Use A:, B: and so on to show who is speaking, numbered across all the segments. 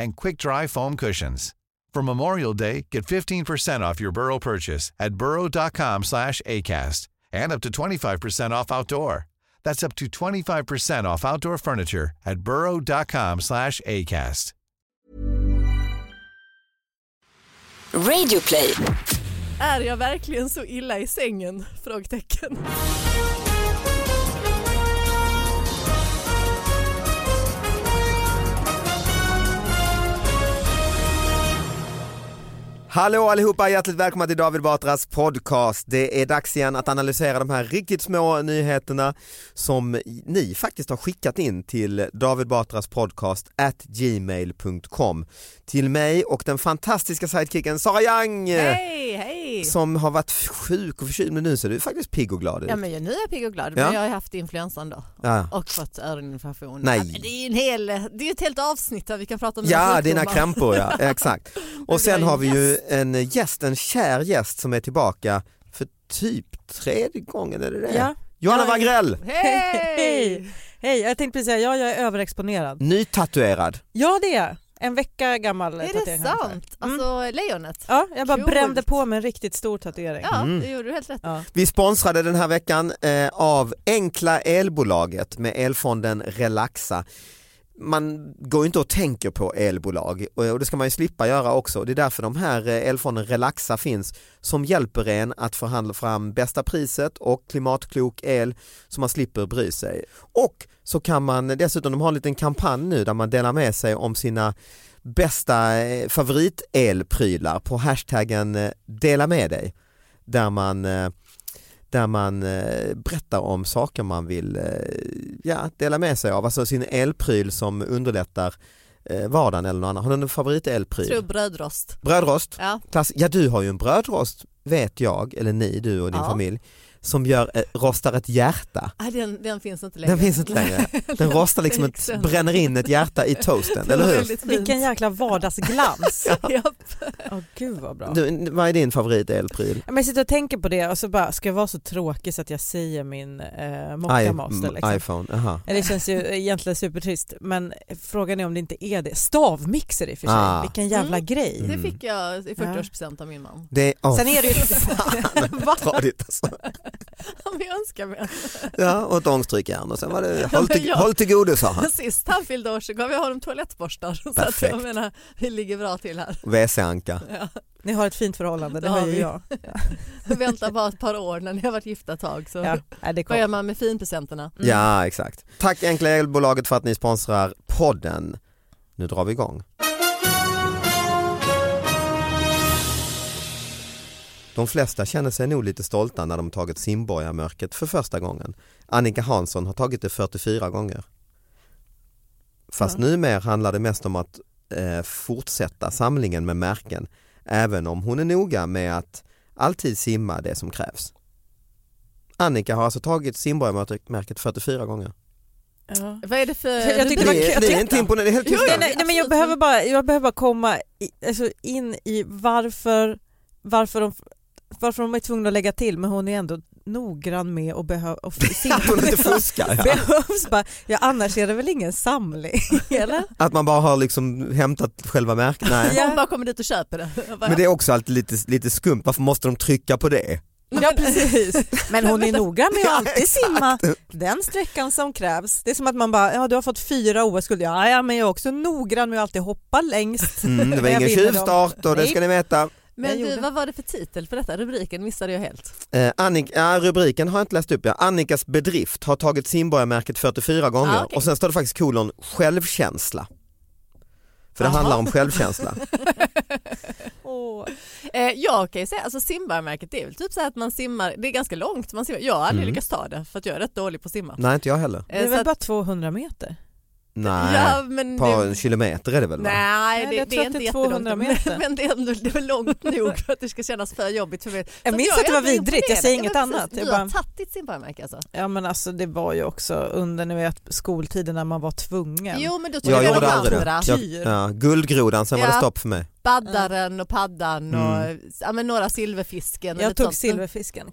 A: and quick-dry foam cushions. For Memorial Day, get 15% off your Burrow purchase at burrow.com/acast and up to 25% off outdoor. That's up to 25% off outdoor furniture at burrow.com/acast.
B: Radioplay.
C: Är jag verkligen så illa i sängen? Frågetecken.
D: Hallå allihopa, hjärtligt välkomna till David Batras podcast. Det är dags igen att analysera de här riktigt små nyheterna som ni faktiskt har skickat in till David Batras podcast at gmail.com till mig och den fantastiska sidekicken Sara Young
C: Hej, hej!
D: som har varit sjuk och förkyld men nu ser du faktiskt pigg och glad ut.
C: Ja men jag, nu är jag pigg och glad,
D: Ja.
C: men jag har ju haft influensan då
D: Ja.
C: och fått öroninflammation.
D: Nej.
C: Ja, men det är ju en hel, det är ett helt avsnitt där vi kan prata om mina
D: Ja,
C: sjukdomar.
D: dina krämpor ja, exakt. Och sen har vi ju en gäst, en kär gäst som är tillbaka för typ tredje gången, är det det?
E: Ja.
D: Johanna
E: Ja,
D: Wagrell,
C: Hej!
E: Hej. Hej, jag tänkte precis säga ja, jag är överexponerad.
D: nytatuerad.
E: Ja det är jag. en vecka gammal
C: Är det
E: tatuering har jag ungefär.
C: sant? Alltså lejonet?
E: Ja, jag bara
C: Coolt.
E: brände på med en riktigt stor tatuering.
C: Ja,
D: Mm.
C: det gjorde du helt rätt.
E: Ja.
D: Vi sponsrade den här veckan eh, av Enkla Elbolaget med elfonden Relaxa. Man går ju inte och tänker på elbolag och och det ska man ju slippa göra också. Det är därför de här eh, elfonden Relaxa finns som hjälper en att förhandla fram bästa priset och klimatklok el så man slipper bry sig. Och så kan man dessutom, de har en liten kampanj nu där man delar med sig om sina bästa eh, favoritelprylar på hashtaggen eh, dela med dig där man, eh, där man eh, berättar om saker man vill eh, ja, dela med sig av, alltså sin elpryl som underlättar eh, vardagen eller något annat. Har du någon
C: Jag
D: favoritelpryl?
C: tror brödrost.
D: Brödrost?
C: Ja.
D: Klass- ja du har ju en brödrost vet jag, eller ni, du och din
C: Ja.
D: familj, som gör, eh, rostar ett hjärta.
C: Nej, den, den finns inte längre.
D: Den finns inte längre. Den rostar liksom,
C: gick
D: ett,
C: sönder.
D: bränner in ett hjärta i toasten,
C: Det var
D: eller hur?
C: väldigt fint.
E: Vilken jäkla vardagsglans.
C: Japp.
E: Åh gud vad bra.
D: Du, vad är din favoritelpryl?
E: Men jag sitter och tänker på det och så bara, ska jag vara så tråkig så att jag säger min eh, mocka master
D: I- mm,
E: liksom?
D: iPhone, aha.
E: Det känns ju egentligen supertrist men frågan är om det inte är det. Stavmixer i och för sig,
D: Ah.
E: vilken jävla
C: Mm.
E: grej.
C: Det
D: Mm.
C: fick jag i 40-årspresent av min man.
D: Det är, oh,
E: Sen är det ju
C: Va?
D: tradigt alltså.
C: Ja, men jag önskar mig.
D: Ja, och ett ångstrykjärn och sen var det
C: Ja,
D: håll till,
C: men jag-
D: håll till godo sa han.
C: Sist han fyllde år så gav jag honom toalettborstar. Så att
D: Perfekt.
C: jag menar, vi ligger bra till här.
D: WC-anka.
E: Ni har ett fint förhållande, det
C: Det har
E: har ju
C: vi.
E: jag.
C: Vänta bara ett par år när ni har varit gifta ett tag så
E: Ja, nej, det är
C: börjar man med finpresenterna.
E: Mm.
D: Ja, exakt. Tack Enkla Elbolaget för att ni sponsrar podden. Nu drar vi igång. De flesta känner sig nog lite stolta när de tagit simborgarmörket för första gången. Annika Hansson har tagit det 44 gånger. Fast numera handlar det mest om att eh, fortsätta samlingen med märken även om hon är noga med att alltid simma det som krävs. Annika har alltså tagit simborgarmärket 44 gånger.
E: Ja.
C: Vad är det för...
E: Jag tyckte
D: Det
E: det var
D: är,
E: kul.
D: det är inte imponerande, det är helt
C: Jo,
D: tysta.
C: nej,
E: Nej, nej, nej, Alltså, men jag
C: absolut.
E: behöver bara, jag behöver bara komma i, alltså in i varför, varför, de, varför de är tvungna att lägga till men hon är ändå noggrann med och behöver... Och
D: Att hon inte fuskar. Ja.
E: behövs bara, ja annars är det väl ingen samling? Eller?
D: Att man bara har liksom hämtat själva märket. Nej.
E: Ja.
C: Någon bara kommer dit och köper det. Jag bara,
D: Men det är också alltid lite, lite skumt, varför måste de trycka på det?
E: Ja precis, men hon är noggrann med att alltid simma den sträckan som krävs. Det är som att man bara, ja du har fått fyra OS-guld, ja, ja men jag är också noggrann med att alltid hoppa längst.
D: Mm, det var
E: Jag
D: ingen
E: vinner dem.
D: tjuvstart och det ska ni veta.
E: Jag
C: Men
E: gjorde.
C: du, vad var det för titel för detta? Rubriken missade jag helt.
D: Eh, Annik- ja, rubriken har jag inte läst upp. Ja. Annikas bedrift har tagit simborgarmärket 44 gånger
C: Ah, okej.
D: och sen står det faktiskt kolon självkänsla. För det
C: Jaha.
D: handlar om självkänsla.
E: Åh.
C: Eh, jag kan ju säga, alltså simbarmärket det är väl typ så här att man simmar, det är ganska långt man simmar. Jag har aldrig
D: Mm.
C: lyckats ta det för att jag är rätt dålig på att simma.
D: Nej, inte jag heller.
E: Det är
C: Eh,
E: väl
C: så
E: bara
C: att-
E: 200 meter?
D: Nej,
C: Ja, men
D: ett
C: det-
D: par kilometer är det väl? Va?
C: Nej,
E: Nej,
C: det,
E: jag
C: det
E: tror
C: är
E: att det
C: inte
E: är
C: jättelångt.
E: 200
C: men-
E: meter.
C: Men det är, ändå, det är väl långt nog för att det ska kännas för jobbigt för mig. Så
E: Jag minns
C: är
E: att det var
C: ändå
E: vidrigt, jag säger inget
C: imponerad. Ja, men
E: annat.
C: precis.
E: Jag
C: Du
E: bara-
C: har tagit ditt simbarmärke alltså?
E: Ja men alltså det var ju också under ni vet, skoltiden när man var tvungen.
C: Jo, men då tog
D: Jag
C: jag,
D: gjorde
C: de
D: aldrig
C: andra.
D: det. Jag,
E: Tyr.
D: ja, guldgrodan, sen var det
C: Ja.
D: stopp för mig.
C: Baddaren och paddan och
D: Mm.
C: ja, men några silverfisken. och
E: Jag
C: lite
E: tog
C: sånt. Mm.
E: silverfisken.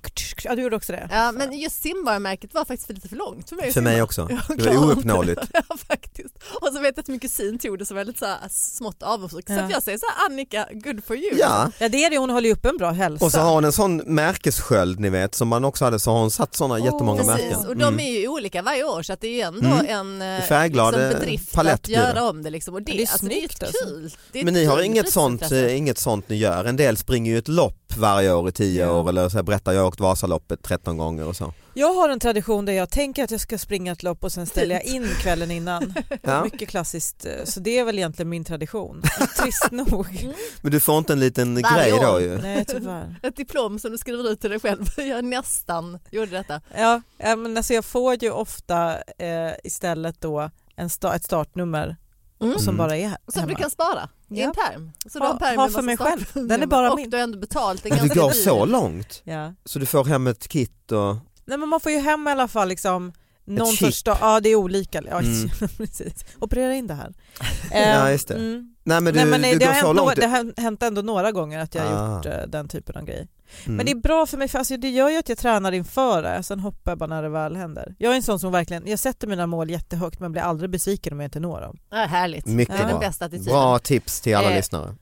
E: Ja, du gjorde också det?
C: Ja, men just simbarmärket var faktiskt lite för långt för mig. att
D: För mig
C: simma.
D: också.
C: Jag
D: Det var
C: klarar inte
D: ouppnåeligt.
C: det. ja, faktiskt. Och så vet jag att min kusin tog det som väldigt så här, smått avundsjuk. Så
E: Ja.
C: att jag säger så här, Annika, good for you.
D: Ja,
E: Ja det är det, hon håller ju upp en bra hälsa.
D: och så har hon en sån märkessköld ni vet som man också hade så har hon satt såna
E: Åh,
D: jättemånga
E: precis.
D: märken.
C: Precis, och de är ju olika varje år så att det är ju ändå
D: Mm.
C: en eh,
D: Färgglad, eh,
C: liksom bedrift
D: palett
C: att
D: blir det.
C: göra om det. Liksom. Och det,
E: Men det är
C: alltså, det är ju
E: snyggt,
C: ett
E: alltså.
C: kul. det är ett
D: Men ni har
C: kul alltså.
D: inget sånt,
C: fritidsintresse.
D: eh, inget sånt ni gör? En del springer ju ett lopp varje år i tio
E: Ja.
D: år eller så här, berättar jag har åkt Vasaloppet 13 gånger och så.
E: Jag har en tradition där jag tänker att jag ska springa ett lopp och sen ställer jag in kvällen innan.
D: Ja.
E: Mycket klassiskt, eh, så det är väl egentligen min tradition. Trist
C: Mm.
E: nog.
D: Men du får inte en liten
C: Varje
D: grej då
C: år.
D: ju.
E: Nej tyvärr.
C: Ett diplom som du skriver ut till dig själv. Jag nästan gjorde detta.
E: Ja, ja, men alltså jag får ju ofta eh, istället då en sta- ett startnummer
C: Mm.
E: som
D: Mm.
E: bara är
C: Som
E: hemma.
C: du kan spara i
E: Ja.
C: en pärm. Så du
E: Ha-
C: har en pärm
E: ha
C: med
E: för
C: massa
E: mig
C: startnummer.
E: själv. Den är bara
C: och
E: min.
C: Och du har ändå betalt en
D: Men du
C: ganska
D: går
C: dyr-
D: så långt?
E: Ja.
D: Så du får hem ett kit och...
E: Nej, men man får ju hem i alla fall liksom någon
D: chip.
E: sorts sta- Ja det är olika. Ja,
D: Mm.
E: precis. Operera in det här.
D: Ja, just det.
E: Mm.
D: Nej men du,
E: Nej, men nej,
D: du
E: det,
D: går
E: har
D: så
E: hänt nå-
D: långt.
E: det har hänt ändå några gånger att jag har
D: Ah.
E: gjort eh, den typen av grejer.
D: Mm.
E: Men det är bra för mig, för alltså, det gör ju att jag tränar inför det, sen hoppar jag bara när det väl händer. Jag är en sån som verkligen, jag sätter mina mål jättehögt men blir aldrig besviken om jag inte når dem.
C: Ja, härligt.
D: Mycket
C: det är
D: bra.
C: den bästa attityden.
D: Bra tips till alla
C: Eh,
D: lyssnare.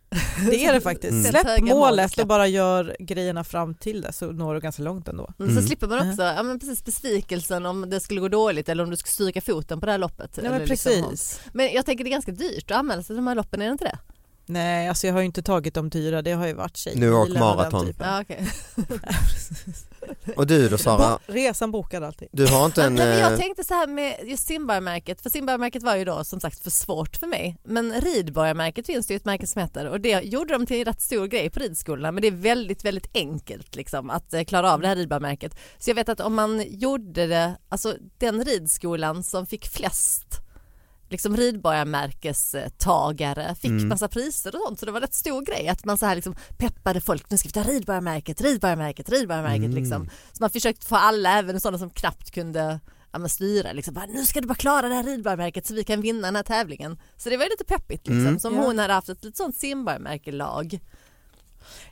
E: Det är det faktiskt.
D: Mm.
E: Släpp
C: Höga mål,
E: målet och
C: släpp.
E: bara gör grejerna fram till det så når du ganska långt ändå.
C: Mm. Så
D: Mm.
C: slipper man också ja, men precis besvikelsen om det skulle gå dåligt eller om du skulle stryka foten på det här loppet.
E: Nej, men
C: eller liksom-
E: precis.
C: men jag tänker det är ganska dyrt att anmäla sig till de här loppen, är det inte det?
E: Nej, alltså jag har ju inte tagit de dyra, det har ju varit
D: New
E: tjejbilen
D: York
E: och den
D: Marathon.
E: typen.
C: Ja, okej.
D: Och du då Sara,
E: Bo- resan bokad allting.
D: du har inte en...
C: Nej, men
D: eh,
C: jag tänkte så här med just simborgarmärket, för simborgarmärket var ju då som sagt för svårt för mig. Men ridborgarmärket finns det ju ett märke som heter och det gjorde de till en rätt stor grej på ridskolorna men det är väldigt, väldigt enkelt liksom att eh, klara av det här ridborgarmärket. Så jag vet att om man gjorde det, alltså den ridskolan som fick flest liksom ridborgarmärkestagare fick massa priser och sånt så det var rätt stor grej att man så här liksom peppade folk nu ska vi ta ridborgarmärket, ridborgarmärket, ridborgarmärket liksom. Så man försökte få alla, även sådana som knappt kunde ja, men styra liksom bara, nu ska du bara klara det här ridborgarmärket så vi kan vinna den här tävlingen. Så det var ju lite peppigt liksom som
E: Ja.
C: hon hade haft ett lite sånt simborgarmärkelag.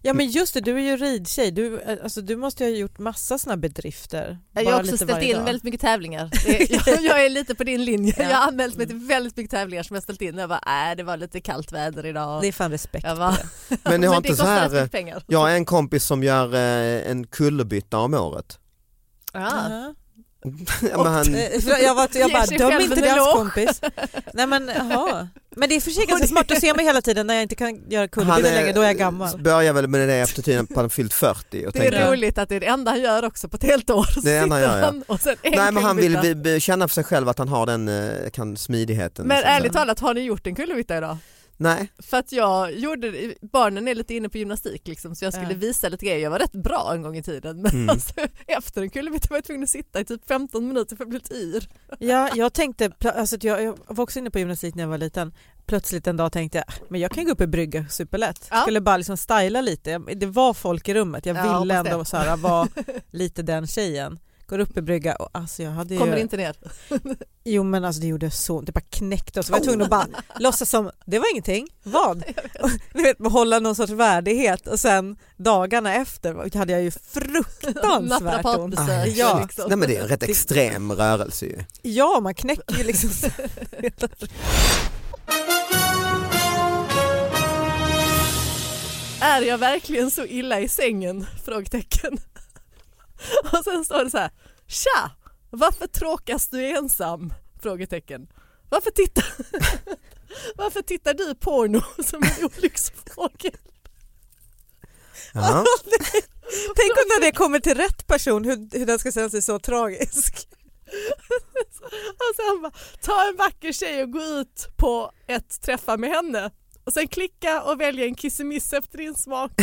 E: Ja men just det, du är ju ridtjej, du, eh, alltså, du måste ju ha gjort massa sådana bedrifter.
C: Jag
E: bara
C: har också
E: lite
C: ställt
E: varje
C: in
E: dag.
C: väldigt mycket tävlingar. Det- Jag, jag är lite på din linje.
E: Ja.
C: Jag har anmält mig till
E: Mm.
C: väldigt mycket tävlingar som jag ställt in. Jag bara, äh, det var lite kallt väder idag.
E: Det är fan respekt.
C: jag bara,
D: men ni har
C: det
D: inte så
C: kostar
D: här...
C: rätt mycket
D: eh,
C: pengar.
D: Jag har en kompis som gör eh, en kullerbytta om året.
C: Ja.
E: Ja.
D: men han,
E: Eh, för Jag, var, jag
C: Ger
E: bara,
C: sig
E: döm
C: själv
E: inte
C: en
E: deras
C: eloge.
E: kompis. Nej men jaha. Men det är för sig ganska smart att se mig hela tiden när jag inte kan göra kullerbyten
D: är-
E: längre, då är jag gammal.
D: börjar väl med det efter tiden på han fyllt 40. Och
C: Det
D: tänker-
C: är roligt att det är det enda han gör också på ett helt år. Så
D: Det är enda han
C: sitter
D: gör, ja.
C: och sen en
D: Nej men han vill
C: kullerbytta.
D: vi- vi- känna för sig själv att han har den eh, kan, smidigheten.
C: Men
D: Så här.
C: ärligt talat, har ni gjort en kullerbytta idag?
D: Nej,
C: För att jag gjorde, barnen är lite inne på gymnastik liksom, så jag skulle
E: Ja.
C: visa lite grejer. Jag var rätt bra en gång i tiden men
D: Mm.
C: alltså, efter en kullerbytta var jag tvungen att sitta i typ 15 minuter för jag blev lite yr.
E: Ja, jag tänkte, pla- alltså, att jag, jag var också inne på gymnastik när jag var liten. Plötsligt en dag tänkte jag, men jag kan gå upp i brygga superlätt.
C: Ja.
E: Skulle bara liksom styla lite. Det var folk i rummet, jag
C: Ja,
E: ville
C: hoppas det.
E: ändå så här, vara lite den tjejen. Går upp i brygga och alltså jag hade
C: Kommer
E: ju...
C: inte ner.
E: Jo men alltså det gjorde så ont, det bara knäckte och så var
C: Oh.
E: jag tvungen att bara låtsas som det var ingenting. Vad? Och, Ni vet, behålla någon sorts värdighet och sen dagarna efter hade jag ju fruktansvärt ont.
C: Naprapatbesök.
E: Ja.
C: liksom.
D: Nej men det är en rätt extrem rörelse ju.
E: Ja, man knäcker ju liksom. så-
C: Är jag verkligen så illa i sängen? Frågetecken. Och sen står det så här. Tja! Varför tråkas du ensam? Frågetecken. Varför tittar, varför tittar du porno som en olycksfågel?
D: Ja.
E: Tänk om när det kommer till rätt person, hur, hur den ska känna sig så tragisk.
C: Och sen Alltså bara, ta en vacker tjej och gå ut på ett träffa med henne. Och sen klicka och välja en kissemiss efter din smak.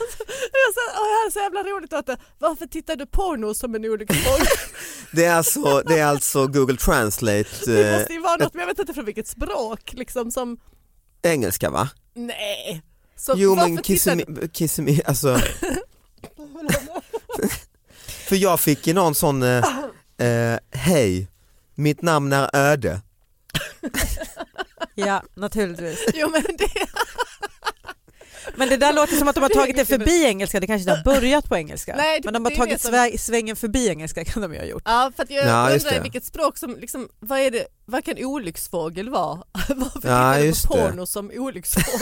C: Alltså, jag sa, "Åh, det här är så jävla roligt att varför tittar du porno som en olycksfågel?
D: Det, är alltså, det är alltså Google Translate
C: Det
D: eh,
C: måste ju vara något, men jag vet inte från vilket språk liksom som,
D: eh, engelska va?
C: nej. Så
D: Jo
C: varför
D: men
C: tittar
D: Kissimmee, Kissimmee, alltså. För jag fick ju någon sån, eh, eh, hej, mitt namn är Öde.
E: Ja, naturligtvis.
C: du- Jo men det,
E: Men det där låter som att de har tagit det förbi engelska, det kanske inte har börjat på engelska.
C: Nej, det-
E: men de har
C: det är det
E: tagit
C: som-
E: svä- svängen förbi engelska kan de ju ha gjort.
C: ja för att jag
D: Ja, just
C: undrar
D: det.
C: vilket språk som, liksom, vad är det, vad kan olycksfågel vara? Varför
D: Ja,
C: tittar du
D: just
C: på
D: det.
C: porno som olycksfågel?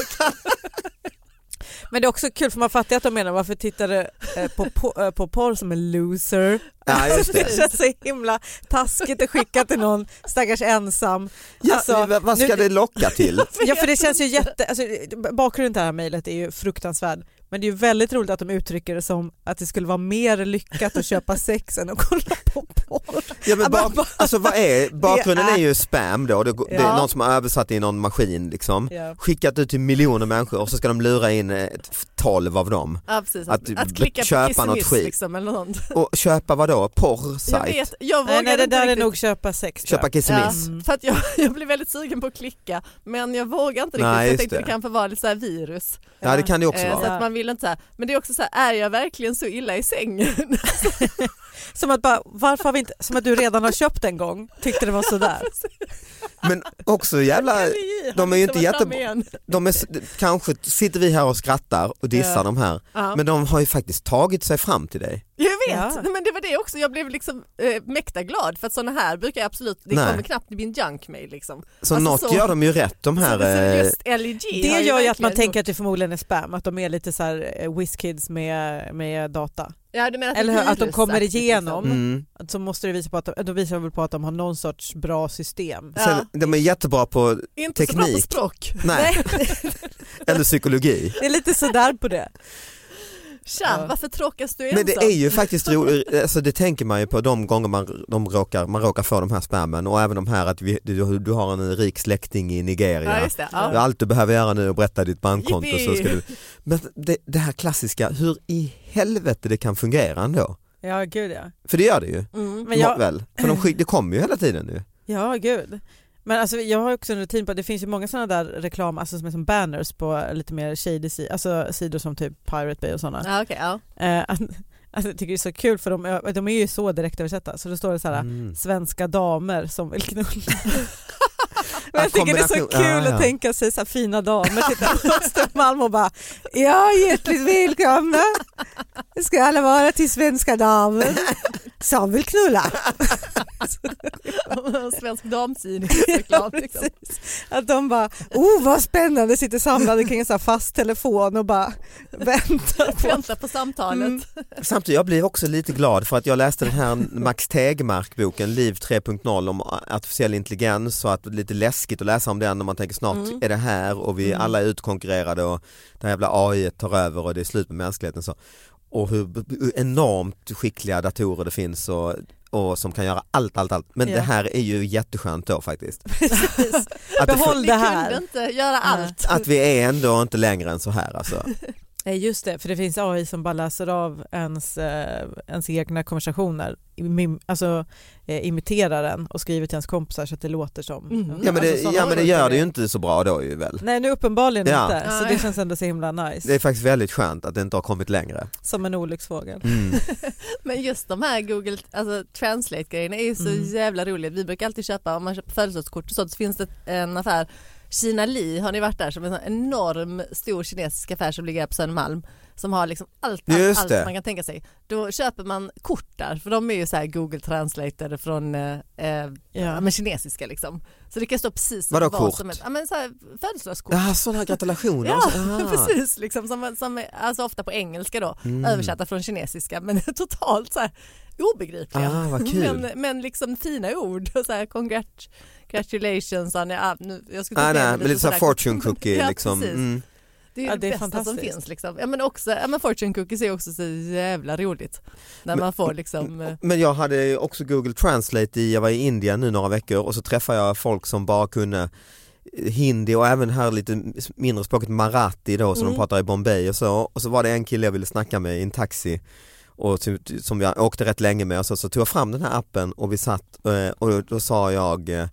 E: Men det är också kul för man fattar ju att de menar varför tittar du eh, på, på, eh, på porr som en loser. Alltså,
D: Ja just det.
E: det känns så himla taskigt att skicka till någon stackars ensam.
D: Ja,
E: Alltså,
D: vad- vad ska
E: nu-
D: det locka till?
E: Ja för det känns ju jätte, alltså, bakgrunden till det här mejlet är ju fruktansvärd men det är ju väldigt roligt att de uttrycker det som att det skulle vara mer lyckat att köpa sex än att kolla på porr.
D: Ja, men
E: Bara-
D: bak, alltså, vad är, bakgrunden
E: är-
D: är ju spam då, det, det
E: Ja.
D: är någon som har översatt i någon maskin liksom.
E: Ja.
D: Skickat ut till miljoner människor och så ska de lura in eh, ett- tolv av dem.
C: Ja, precis.
D: Att
C: Att,
D: du
C: att,
D: b-
C: klicka
D: köpa
C: på
D: något
C: kissemiss
D: skit.
C: liksom eller något.
D: Och köpa vadå?
C: Jag
D: Porrsajt?
C: vet, jag vågar
E: Nej, nej det
C: inte
E: där är
C: riktigt. Mm.
E: nog köpa sex tror
D: Köpa
E: jag.
C: Ja,
D: kissemiss?
C: för att jag, jag blir väldigt sugen på att klicka men jag vågar inte riktigt.
D: Nej,
C: jag
D: just
C: tänkte
D: det.
C: det kan få vara lite så här virus.
D: Ja. det kan det också
C: Eh, så
D: vara.
E: Ja.
C: att man vill inte så här. Men det är också så här, är jag verkligen så illa i sängen?
E: Som att, bara, varför har vi inte, som att du redan har köpt en gång, tyckte det var sådär.
D: Men också jävla, de är ju inte jättebra. De är, s- kanske sitter vi här och skrattar och dissar
C: Ja.
D: de här.
C: Ja.
D: Men de har ju faktiskt tagit sig fram till dig.
C: Jag vet,
E: Ja.
C: Nej, men det var det också. Jag blev liksom eh, mäkta glad för att sådana här brukar jag absolut, det
D: Nej.
C: kommer knappt i min junkmail liksom.
D: Så
C: Alltså,
D: något
C: så-
D: gör de ju rätt de
C: Så
D: här.
C: det är
D: eh,
C: just LEG har
E: Det gör ju att man
C: verkligen
E: tänker att det förmodligen är spam, att de är lite så här eh, whiz-kids med, med data.
C: Ja, du menar att det
E: Eller hur?
C: blir
E: Att de kommer
C: virusaktigt,
E: igenom.
D: Mm.
E: Att Så måste det visa på att de, då visar det väl på att de har någon sorts bra system.
C: Ja.
D: Sen, de är jättebra på,
C: Inte så bra på
D: Teknik.
C: språk.
D: nej, eller psykologi.
E: Det är lite sådär på det.
C: Tja,
E: Ja.
C: varför tråkas du ensam?
D: Men det är ju faktiskt roligt, alltså det tänker man ju på de gånger man, de råkar, man råkar få de här spammen och även de här att vi, du, du har en rik släkting i Nigeria.
C: Ja, just det.
D: Det är
C: Ja.
D: Allt du behöver göra nu är att berätta ditt bankkonto så
C: Yippee.
D: ska du... Men det, det här klassiska, hur i helvete det kan fungera ändå?
E: Ja gud ja.
D: För det gör det ju.
C: Mm.
E: Men jag,
D: Väl? För de skick, det kommer ju hela tiden nu.
E: ja gud. Men alltså, jag har också en rutin på att det finns ju många sådana där reklam, alltså som är som banners på lite mer shady si- alltså sidor som typ Pirate Bay och sådana.
C: Ja, okej, ja.
E: Eh, att, alltså, jag tycker det är så kul för de, är- de är ju så direktöversatta så då står det så här
D: Mm.
E: svenska damer som vill knulla. Men
D: Ja,
E: jag tycker det är så
D: kombination-
E: kul
D: ja, ja.
E: att tänka sig så här fina damer titta på Östermalm och bara ja hjärtligt välkomna. Det ska alla vara till svenska damer som vill knulla.
C: Svensk damtidningsreklam. Liksom.
E: Att de bara oh vad spännande sitter samlade kring en så här fast telefon och bara väntar på
C: Vänta på samtalet.
E: Mm.
D: Samtidigt, jag blir också lite glad för att jag läste den här Max Tegmark-boken Liv 3.0 om artificiell intelligens och att det är lite läskigt att läsa om den när man tänker snart
E: Mm.
D: är det här och vi alla är utkonkurrerade och det här jävla AI tar över och det är slut med mänskligheten. Så. Och hur b- b- enormt skickliga datorer det finns och, och som kan göra allt, allt, allt. Men
E: Ja.
D: det här är ju jätteskönt då faktiskt.
E: Precis.
D: Att, det,
E: Behåll
C: Vi
E: det här.
C: kunde inte göra allt.
D: att vi är ändå inte längre än så här alltså.
E: Nej just det, för det finns AI som bara läser av ens, eh, ens egna konversationer, Imim, alltså eh, imiterar den och skriver till ens kompisar så att det låter som.
C: Mm.
D: Ja men det,
E: Alltså, sådana
D: ja, men det
E: olika
D: gör det ju
E: grejer.
D: inte så bra då ju väl.
E: Nej nu uppenbarligen
D: Ja.
E: inte, så
C: Nej.
E: det känns ändå så himla nice.
D: Det är faktiskt väldigt skönt att det inte har kommit längre.
E: Som en olycksfågel.
D: Mm.
C: Men just de här Google alltså, Translate-grejerna är ju så
E: Mm.
C: jävla roliga. Vi brukar alltid köpa, om man köper födelsedagskort och sånt, så finns det en affär, Kina Li, har ni varit där? Som är en sån enorm stor kinesisk affär som ligger här på Södermalm. Som har liksom allt, allt,
D: Just
C: allt
D: det.
C: man kan tänka sig. Då köper man kort där, för de är ju så här Google Translator från eh, eh, ja. men kinesiska liksom. Så det kan stå precis
D: Vadå
C: vad
D: kort?
C: som helst. Ja men så här, födelsedagskort.
D: Ja, sådana här gratulationer.
C: Ja,
D: Ah.
C: precis. Liksom, som, som är, alltså ofta på engelska då,
D: Mm.
C: översatta från kinesiska, men totalt så här obegripliga.
D: Ah, vad kul.
C: Men, men liksom fina ord, och så här congrat, congratulations, Anja, ah, nu, jag skulle ta
D: Ah,
C: med
D: nej,
C: mig
D: men lite såhär
C: sådär.
D: fortune cookie
C: ja,
D: liksom.
C: precis.
D: Mm.
C: Det är ju
E: Ja,
C: det,
E: det är
C: bästa som
E: fantastiskt.
C: finns liksom. Ja, men också, ja, men fortune cookies är också så jävla roligt. När man får liksom, eh,
D: Men jag hade ju också Google Translate i, jag var i Indien nu några veckor och så träffade jag folk som bara kunde eh, hindi och även här lite mindre språket marathi då som de
C: Mm.
D: pratar i Bombay och så. Och så var det en kille jag ville snacka med i en taxi och ty- ty- som jag åkte rätt länge med och så, så tog jag fram den här appen och vi satt eh, och då sa jag eh,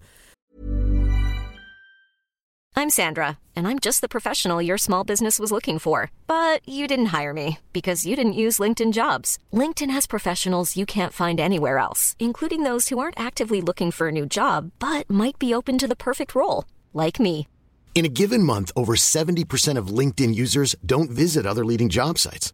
F: I'm Sandra, and I'm just the professional your small business was looking for. But you didn't hire me because you didn't use LinkedIn jobs. LinkedIn has professionals you can't find anywhere else, including those who aren't actively looking for a new job but might be open to the perfect role, like me.
G: In a given month, over 70% of LinkedIn users don't visit other leading job sites.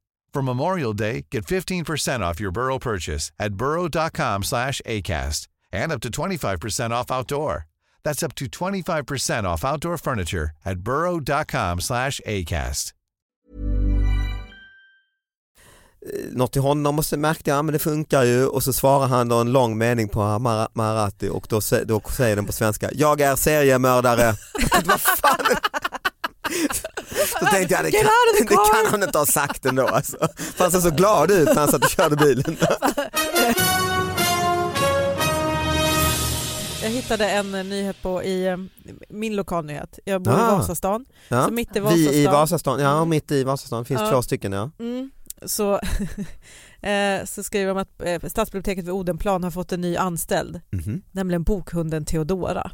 A: For Memorial Day, get 15% off your Burrow purchase at burrow.com/acast and up to 25% off outdoor. That's up to 25% off outdoor furniture at burrow.com/acast.
D: eh, något till honom och så märkte jag men det funkar ju och så svarar han då en lång mening på Mar- Marathi och då, sä- då säger den på svenska Jag är seriemördare. Vad fan? Då tänkte jag det
E: Get
D: kan,
E: out of the
D: det
E: car!
D: kan han inte ha sagt ändå alltså. För han såg så glad ut när han satt och körde bilen.
E: Jag hittade en eh, nyhet på i eh, min lokalnyhet, jag bor
D: Ah.
E: i Vasastan,
D: Ja.
E: så mitt i Vasastan, Mm.
D: Vi i Vasastan, ja mitt i Vasastan finns
E: Ja.
D: två stycken ja.
E: Mm, så, eh, så skriver de att eh, stadsbiblioteket vid Odenplan har fått en ny anställd
D: Mhm.
E: nämligen bokhunden Theodora.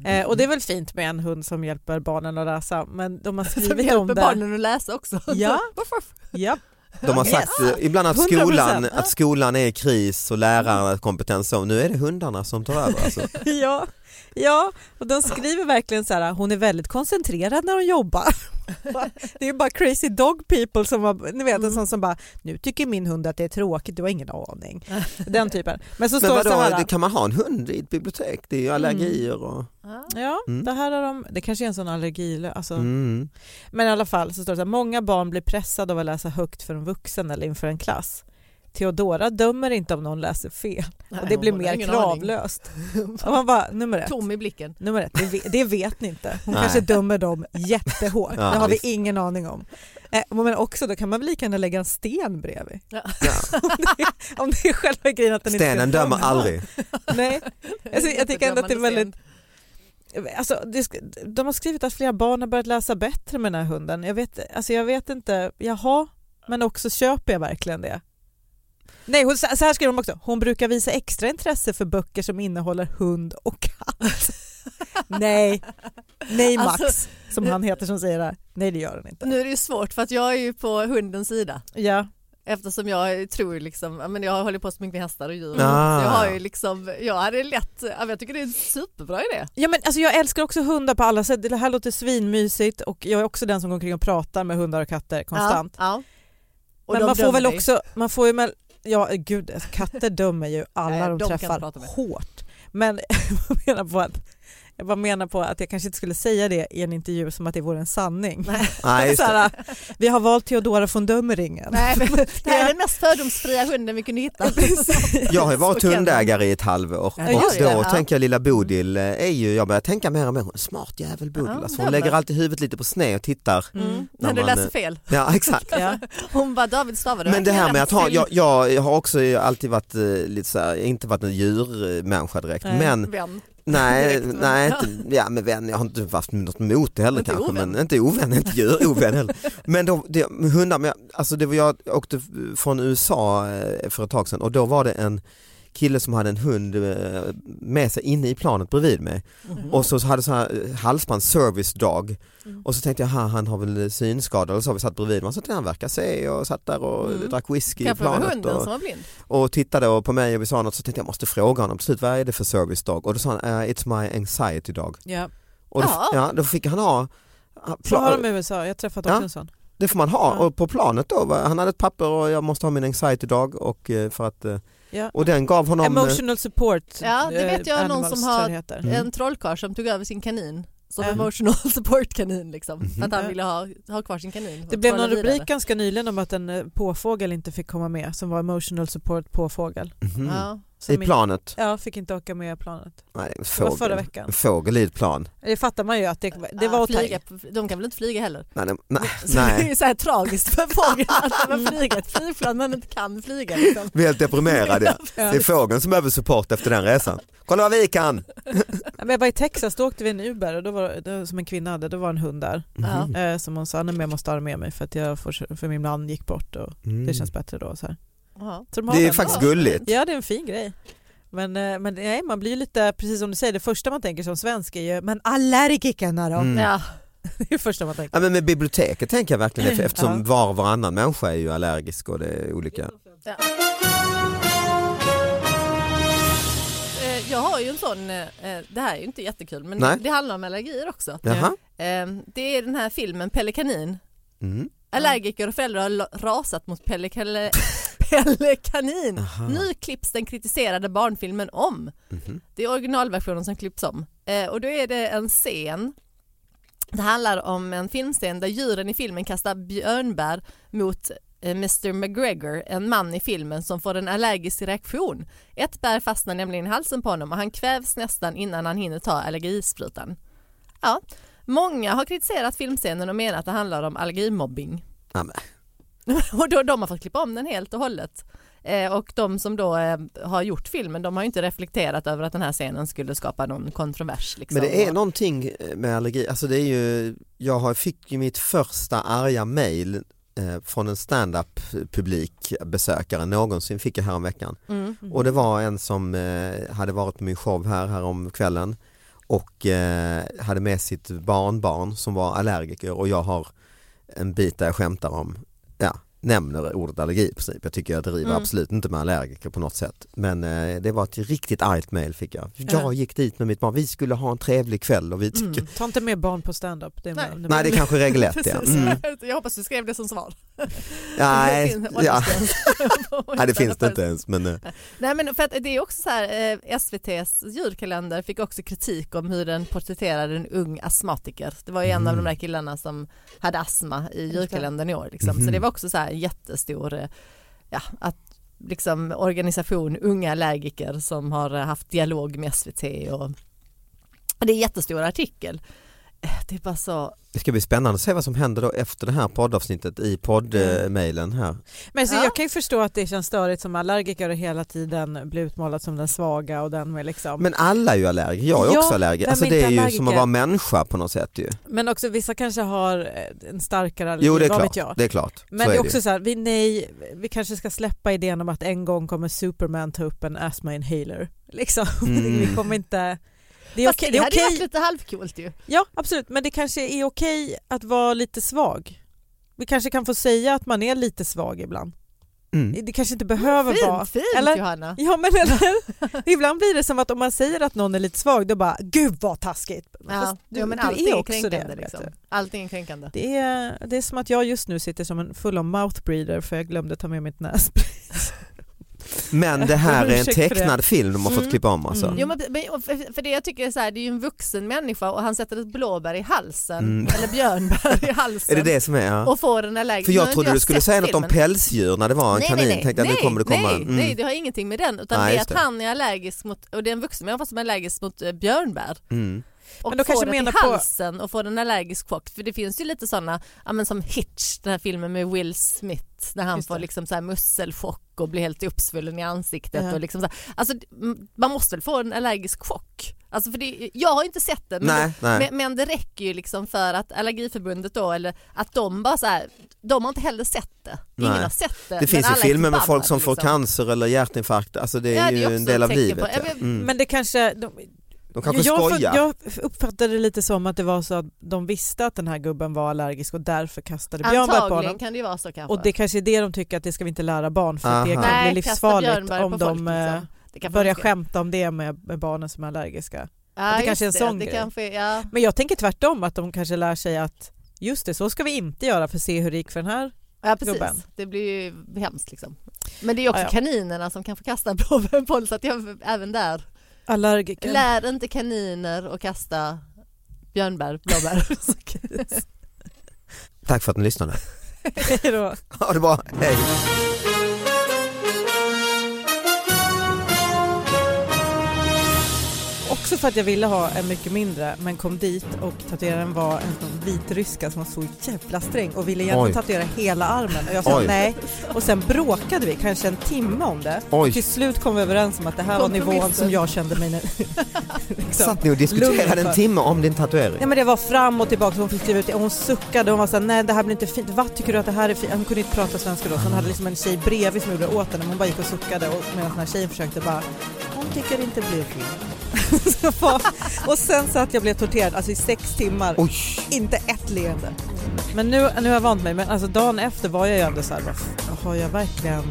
D: Mm.
E: Eh, och det är väl fint med en hund som hjälper barnen att läsa men de har
C: som
E: skrivit om
C: hjälper
E: det.
C: barnen att läsa också.
E: Ja.
C: Varför?
E: Ja.
D: De har sagt eh, ibland att
E: 100%.
D: skolan, att skolan är i kris och lärarna är kompetens så. Nu är det hundarna som tar över alltså.
E: ja, ja, och de skriver verkligen så här, hon är väldigt koncentrerad när hon jobbar. det är bara crazy dog people som har, ni vet
D: Mm.
E: en sån som bara, nu tycker min hund att det är tråkigt, du har ingen aning. Den typen. Men så
D: Men
E: står det så
D: vadå,
E: här, Mm.
D: det, kan man ha en hund i ett bibliotek? Det är ju allergier och...
E: ja,
D: Mm.
E: det här har de, det kanske är en sån allergilö, alltså
D: Mm.
E: Men i alla fall så står det så här, många barn blir pressade av att läsa högt för en vuxen eller inför en klass. Theodora dömer inte om någon läser fel och det
C: Nej,
E: blir
C: hon har
E: mer
C: ingen
E: kravlöst. Och man bara, nummer
C: aning.
E: ett,
C: Tom i blicken.
E: nummer ett det, vet, det vet ni inte. Hon
D: Nej.
E: kanske dömer dem jättehårt,
D: Ja,
E: det har vi
D: visst.
E: ingen aning om. Eh, Men också då kan man väl lika gärna lägga en sten bredvid.
C: Ja.
E: om, det är, om det är själva grejen att den
D: Stenen
E: inte ska
D: dömer aldrig.
E: Nej, Alltså, jag tycker ändå att det är väldigt-
C: Jättedömande
E: Alltså, det, sk- de har skrivit att flera barn har börjat läsa bättre med den här hunden. Jag vet, alltså jag vet inte, jaha, men också köper jag verkligen det? Nej, hon, så så här skriver de också, hon brukar visa extra intresse för böcker som innehåller hund och katt. nej, nej Max,
C: Alltså-
E: som han heter som säger det här. Nej det gör hon inte.
C: Nu är det ju svårt för att jag är ju på hundens sida.
E: Ja,
C: Eftersom jag tror liksom, ja, men jag håller på så mycket med hästar och djur.
D: Ah.
C: Så jag har ju liksom, jag hade lätt, ja, men jag tycker det är en superbra idé.
E: ja men alltså jag älskar också hundar på alla sätt. Det här låter svinmysigt och jag är också den som går omkring och pratar med hundar och katter konstant.
C: Ja, ja. Och
E: men
C: de
E: man får
C: dömer
E: väl
C: dig.
E: också, man får ju väl, ja gud katter dömer ju alla
C: Nej, de
E: de,
C: kan inte
E: träffar
C: prata med.
E: hårt. Men jag menar på att Jag bara menar på att jag kanske inte skulle säga det i en intervju som att det vore en sanning.
D: Nej, just
E: så
D: det.
E: här, vi har valt Theodora von Dömeringen.
C: Nej, men, det här är den mest fördomsfria hunden vi kunde hitta.
D: Jag har ju varit
C: Okej.
D: hundägare i ett halvår och
C: Ja,
E: just
D: då
C: det, ja.
D: tänker jag lilla Bodil eh, är ju, jag börjar tänka mer och mer, hon är en smart jävel Bodil.
C: Ja,
D: Alltså, hon
C: jävlar.
D: lägger alltid huvudet lite på sned och tittar.
C: Mm.
D: När
C: När du
D: man, eh,
C: läser fel.
D: Ja exakt.
E: Ja.
C: Hon bara David stavade
D: Men det här med att ha, jag, jag har också alltid varit eh, lite så här, inte varit någon djurmänniska direkt
E: Nej.
D: men
C: Vän.
D: Nej,
C: Direkt, men-
D: nej inte, ja, men vän, jag har inte haft något emot det heller
C: Inte
D: kanske,
C: ovän.
D: men inte ovän, inte djur, ovän heller. Men de, de, hundar, men jag, alltså det var, jag åkte från USA eh, för ett tag sedan och då var det en kille som hade en hund eh, med sig inne i planet bredvid mig
C: Mhm.
D: och så hade så här eh, halsband service dog
C: Mm.
D: och så tänkte jag "Ha, han har väl synskada eller så, vi satt bredvid honom så tänkte jag, han verkar se och satt där och
C: Mm.
D: drack whisky i
C: Kanske var
D: planet.
C: hunden
D: Och,
C: som var blind.
D: och tittade och på mig och vi sa något så tänkte jag måste fråga honom till slut vad är det för service dog och då sa han "Eh, it's my anxiety dog
E: Ja.
D: och då,
C: Ja.
D: ja, då fick han ha ja,
E: Så har de
D: pla-
E: i USA, jag har träffat också
D: Ja.
E: en sån.
D: det får man ha
E: Ja.
D: och på planet då va, han hade ett papper och jag måste ha min anxiety dog och eh, för att eh,
E: Ja.
D: och den gav honom eh,
E: Emotional support
C: Ja, det vet
E: eh,
C: jag någon
E: animals,
C: som har-
E: tror jag det heter.
D: Mm.
C: En trollkarl som tog över sin kanin som
E: Mm.
C: emotional support kanin liksom.
D: Mhm.
C: För att han
E: Ja.
C: ville ha, ha kvar sin kanin.
E: Det blev
C: Trolla
E: någon
C: vidare.
E: rubrik ganska nyligen om att en eh, påfågel inte fick komma med som var emotional support påfågel.
D: mhm,
C: Ja.
E: Som
D: i
E: inte-
D: planet.
E: Ja, fick inte åka med planet.
D: Nej, en
E: Det var förra
D: fågel.
E: veckan.
D: En fågel i ett plan.
E: Det fattar man ju att det, det
C: Ja,
E: var att ta i.
C: Ah, flyga, De kan väl inte flyga heller?
D: Nej, nej, nej,
C: Så Det är ju så här tragiskt för fåglarna att de har flyga ett flygplan men inte kan flyga. Liksom.
D: Vi är helt deprimerade. ja.
E: Ja.
D: Det är fågeln som behöver support efter den resan. Kolla vad vi kan!
E: Ja, men Jag var i Texas, då åkte vi en Uber och då var, då, som en kvinna hade, då var en hund där
C: Ja.
D: Mm.
E: eh, som hon sa, "Nej, men jag måste ha den med mig för att jag får, för min man gick bort och
D: Mm.
E: det känns bättre då. Så här.
C: Ja.
E: Så de har
D: Det är
E: den.
D: faktiskt gulligt.
E: Ja det är en fin grej. Men, eh, men nej, man blir ju lite, precis som du säger, det första man tänker som svensk är ju men allergikerna då?
D: Mm.
C: Ja.
E: Det är det första man tänker.
D: Ja, men med biblioteket tänker jag verkligen efter- eftersom
E: Ja.
D: var och varannan människa är ju allergisk och det är olika.
C: Eh, Jag har ju en sån, eh, det här är ju inte jättekul men
D: Nej.
C: det handlar om allergier också.
D: Jaha.
C: Eh, Det är den här filmen Pelikanin.
D: Mm.
C: Allergiker och föräldrar har la- rasat mot Pelle, Kalle, Pelle Kanin. Nu klipps den kritiserade barnfilmen om. Det är originalversionen som klipps om. Eh, och då är det en scen. Det handlar om en filmscen där djuren i filmen kastar björnbär mot eh, Mr McGregor, en man i filmen som får en allergisk reaktion. Ett bär fastnar nämligen i halsen på honom och han kvävs nästan innan han hinner ta allergisprutan. Ja, många har kritiserat filmscenen och menar att det handlar om allergimobbing.
D: Ja, men.
C: Och då, de har fått klippa om den helt och hållet. Eh, och de som då eh, har gjort filmen, de har ju inte reflekterat över att den här scenen skulle skapa någon kontrovers. Liksom.
D: Men det är någonting med allergi, alltså det är ju, jag har- fick ju mitt första arga mail eh, från en stand-up publikbesökare någonsin fick jag häromveckan.
C: Mm.
D: Och det var en som eh, hade varit på min show här, här om kvällen och eh, hade med sitt barnbarn som var allergiker och jag har en bit där jag skämtar om, ja, nämner ordet allergi i princip. Jag tycker jag driver
C: Mm.
D: absolut inte med allergiker på något sätt. Men eh, det var ett riktigt argt mail fick jag. Jag gick dit med mitt barn, vi skulle ha en trevlig kväll och vi tycker
C: Mm.
E: Ta inte med barn på stand-up. Det är
C: Nej.
E: med-
D: Nej det är kanske är regel ett ja.
C: Precis.
D: Mm.
C: Jag hoppas du skrev det som svar.
D: Nej,
C: finns
D: ja.
C: åldersgräns.
D: Nej det finns det inte ens men eh,
C: Nej men för att det är också så här, eh, SVTs julkalender fick också kritik om hur den porträtterade en ung astmatiker. Det var ju en av
E: Mm.
C: de där killarna som hade astma i julkalendern i år. Liksom. Så det
E: Mm-hmm.
C: var också så här en jättestor, eh, ja, att liksom organisation unga allergiker som har eh, haft dialog med SVT och och det är en jättestor artikel. Eh, Det är bara så,
D: det ska bli spännande att se vad som händer då efter det här poddavsnittet i poddmailen här.
E: Men så
C: Ja.
E: jag kan ju förstå att det känns störigt som allergiker och hela tiden bli utmålad som den svaga och den med liksom. Men,
D: Men alla är ju allergiker, jag är
E: Ja,
D: också allergiker.
E: vem
D: Alltså
E: är
D: det
E: inte
D: är ju
E: allergiker?
D: som att vara människa på något sätt ju.
E: också vissa kanske har eh, en starkare allergi,
D: Jo det är
E: vad
D: klart,
E: vet jag.
D: det är klart.
E: Men
D: så
E: det är
D: ju.
E: också så här, vi, nej, vi kanske ska släppa idén om att en gång kommer Superman ta upp en astma inhaler. Liksom.
D: Mm.
E: vi kommer inte... Det är
C: Fast
E: okej,
C: det
E: det är
C: hade ju varit
E: okej.
C: lite halvcoolt ju.
E: Ja absolut, men det kanske är okej att vara lite svag. Vi kanske kan få säga att man är lite svag ibland.
D: Mm.
E: Det kanske inte behöver vara...
C: Fint, fint
E: Eller-
C: Johanna.
E: Ja men eller? Ibland blir det som att om man säger att någon är lite svag då bara gud vad taskigt.
C: Ja,
E: Fast du,
C: jo, men
E: du
C: allting
E: är
C: är,
E: också
C: kränkande.
E: det.
C: liksom.
E: vet du.
C: Allting är kränkande.
E: Det är, det är som att jag just nu sitter som en full on mouth breather för jag glömde ta med mitt nässpray.
D: Men det här är en
E: Ursäkta för det.
D: tecknad film de har fått
C: Mm.
D: klippa om alltså.
E: Mm.
C: Jo, men, men- och för för det jag tycker är så här, det är ju en vuxen människa och han sätter ett blåbär i halsen
D: Mm.
C: eller björnbär i halsen
D: Är det det som är? Ja.
C: Mm. och får den allergisk.
D: För
C: Nu har
D: jag
C: inte
D: trodde du skulle
C: sett
D: säga något om
C: filmen.
D: pälsdjur när det var en kanin. Tänkte att nu
C: nej,
D: kommer det komma.
C: nej,
D: en. Mm.
C: nej, det har ingenting med den utan
D: Nej,
C: det är
D: just
C: att
D: det.
C: han är allergisk mot, och det är en vuxen människa som är allergisk mot eh, björnbär.
D: Mm.
C: Och
E: Men då
C: får
E: kanske
C: det
E: menar
C: till
E: på-
C: halsen och får en allergisk chock. För det finns ju lite sådana, ja, men som Hitch, den här filmen med Will Smith, när han
E: Just
C: får
E: det.
C: liksom så här musselchock och blir helt uppsvullen i ansiktet.
E: Ja.
C: Och liksom så här. Alltså, m- man måste väl få en allergisk chock? Alltså, för det, jag har inte sett den, men,
D: Nej, nej.
C: Men, men det räcker ju liksom för att Allergiförbundet då, eller att de bara så här, de har inte heller sett det. Ingen
D: Nej.
C: har sett det.
D: Det finns ju
C: Eh, men alla är
D: filmer med folk
C: förbannade,
D: som får
C: liksom.
D: cancer eller hjärtinfarkt, alltså det är
C: Ja, det är
D: ju
C: också
D: en del av
C: ett tecken
D: livet.
C: på-
D: ja.
C: Ja, men-
D: Mm.
E: Men det kanske, de,
D: De kanske
E: jag, för-
D: skojar.
E: jag uppfattade det lite som att det var så att de visste att den här gubben var allergisk och därför kastade björnbär på
C: Antagligen
E: honom.
C: kan det ju vara så kanske.
E: Och det kanske är det de tycker att det ska vi inte lära barn för att det
D: Aha.
E: kan bli
C: kasta
E: livsfarligt
C: björnbär
E: om
C: på
E: de
C: folk, liksom.
E: eh,
C: Det kan
E: börjar
C: folk-
E: skämta om det med, med barnen som är allergiska.
C: Ja,
E: det
C: just
E: kanske är en sån
C: det
E: grej.
C: kanske, ja.
E: Men jag tänker tvärtom att de kanske lär sig att just det, så ska vi inte göra för att se hur det gick för den här.
C: ja, precis.
E: Gubben.
C: Det blir ju hemskt liksom. Men det är ju också
E: Ja, ja.
C: kaninerna som kan få kasta blåbären på så att jag, även där.
E: Allergiker.
C: Lär inte kaniner att kasta björnbär, blåbär.
D: Tack för att ni lyssnade.
E: Hej då.
D: Ha det bra, hej!
E: Också för att jag ville ha en mycket mindre men kom dit och tatueraren var en sån vitryska som var så jävla sträng och ville egentligen
D: Oj.
E: tatuera hela armen och jag sa
D: Oj.
E: nej. Och sen bråkade vi kanske en timme om det.
D: Oj.
E: Till slut kom vi överens om att det här var nivån
C: Kompromissen.
E: som jag kände mig nu. liksom.
D: Satt ni och
E: Lugn
D: diskuterade
E: för-
D: en timme om din
E: Nej
D: tatuering?
E: men det var fram och tillbaka hon fick skriva ut det och hon suckade och hon var såhär nej det här blir inte fint, vad tycker du att det här är fint? Hon kunde inte prata svenska då så hon hade liksom en tjej bredvid som gjorde det åt henne men hon bara gick och suckade och medan den här tjejen försökte bara hon tycker det inte blir fint. Så var- och sen så att jag blev torterad alltså i sex timmar,
D: Oj!
E: inte ett leende. Men nu, nu har jag vant mig men alltså dagen efter var jag ju ändå såhär bara, har jag verkligen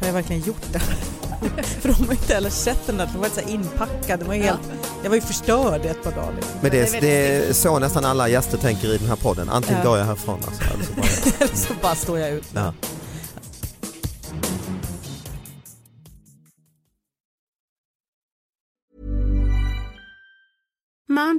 E: har jag verkligen gjort det? För de har ju inte heller sett den där, de var så här inpackade, de var ju helt, jag var ju förstörd i ett par dagar. Liksom.
D: Men
C: det är
D: det,
C: väldigt
D: det är så nästan alla gäster tänker i den här podden. Antingen
E: Ja.
D: går jag härifrån alltså, eller så bara...
E: Eller så bara står jag ut.
D: Ja.
B: Mom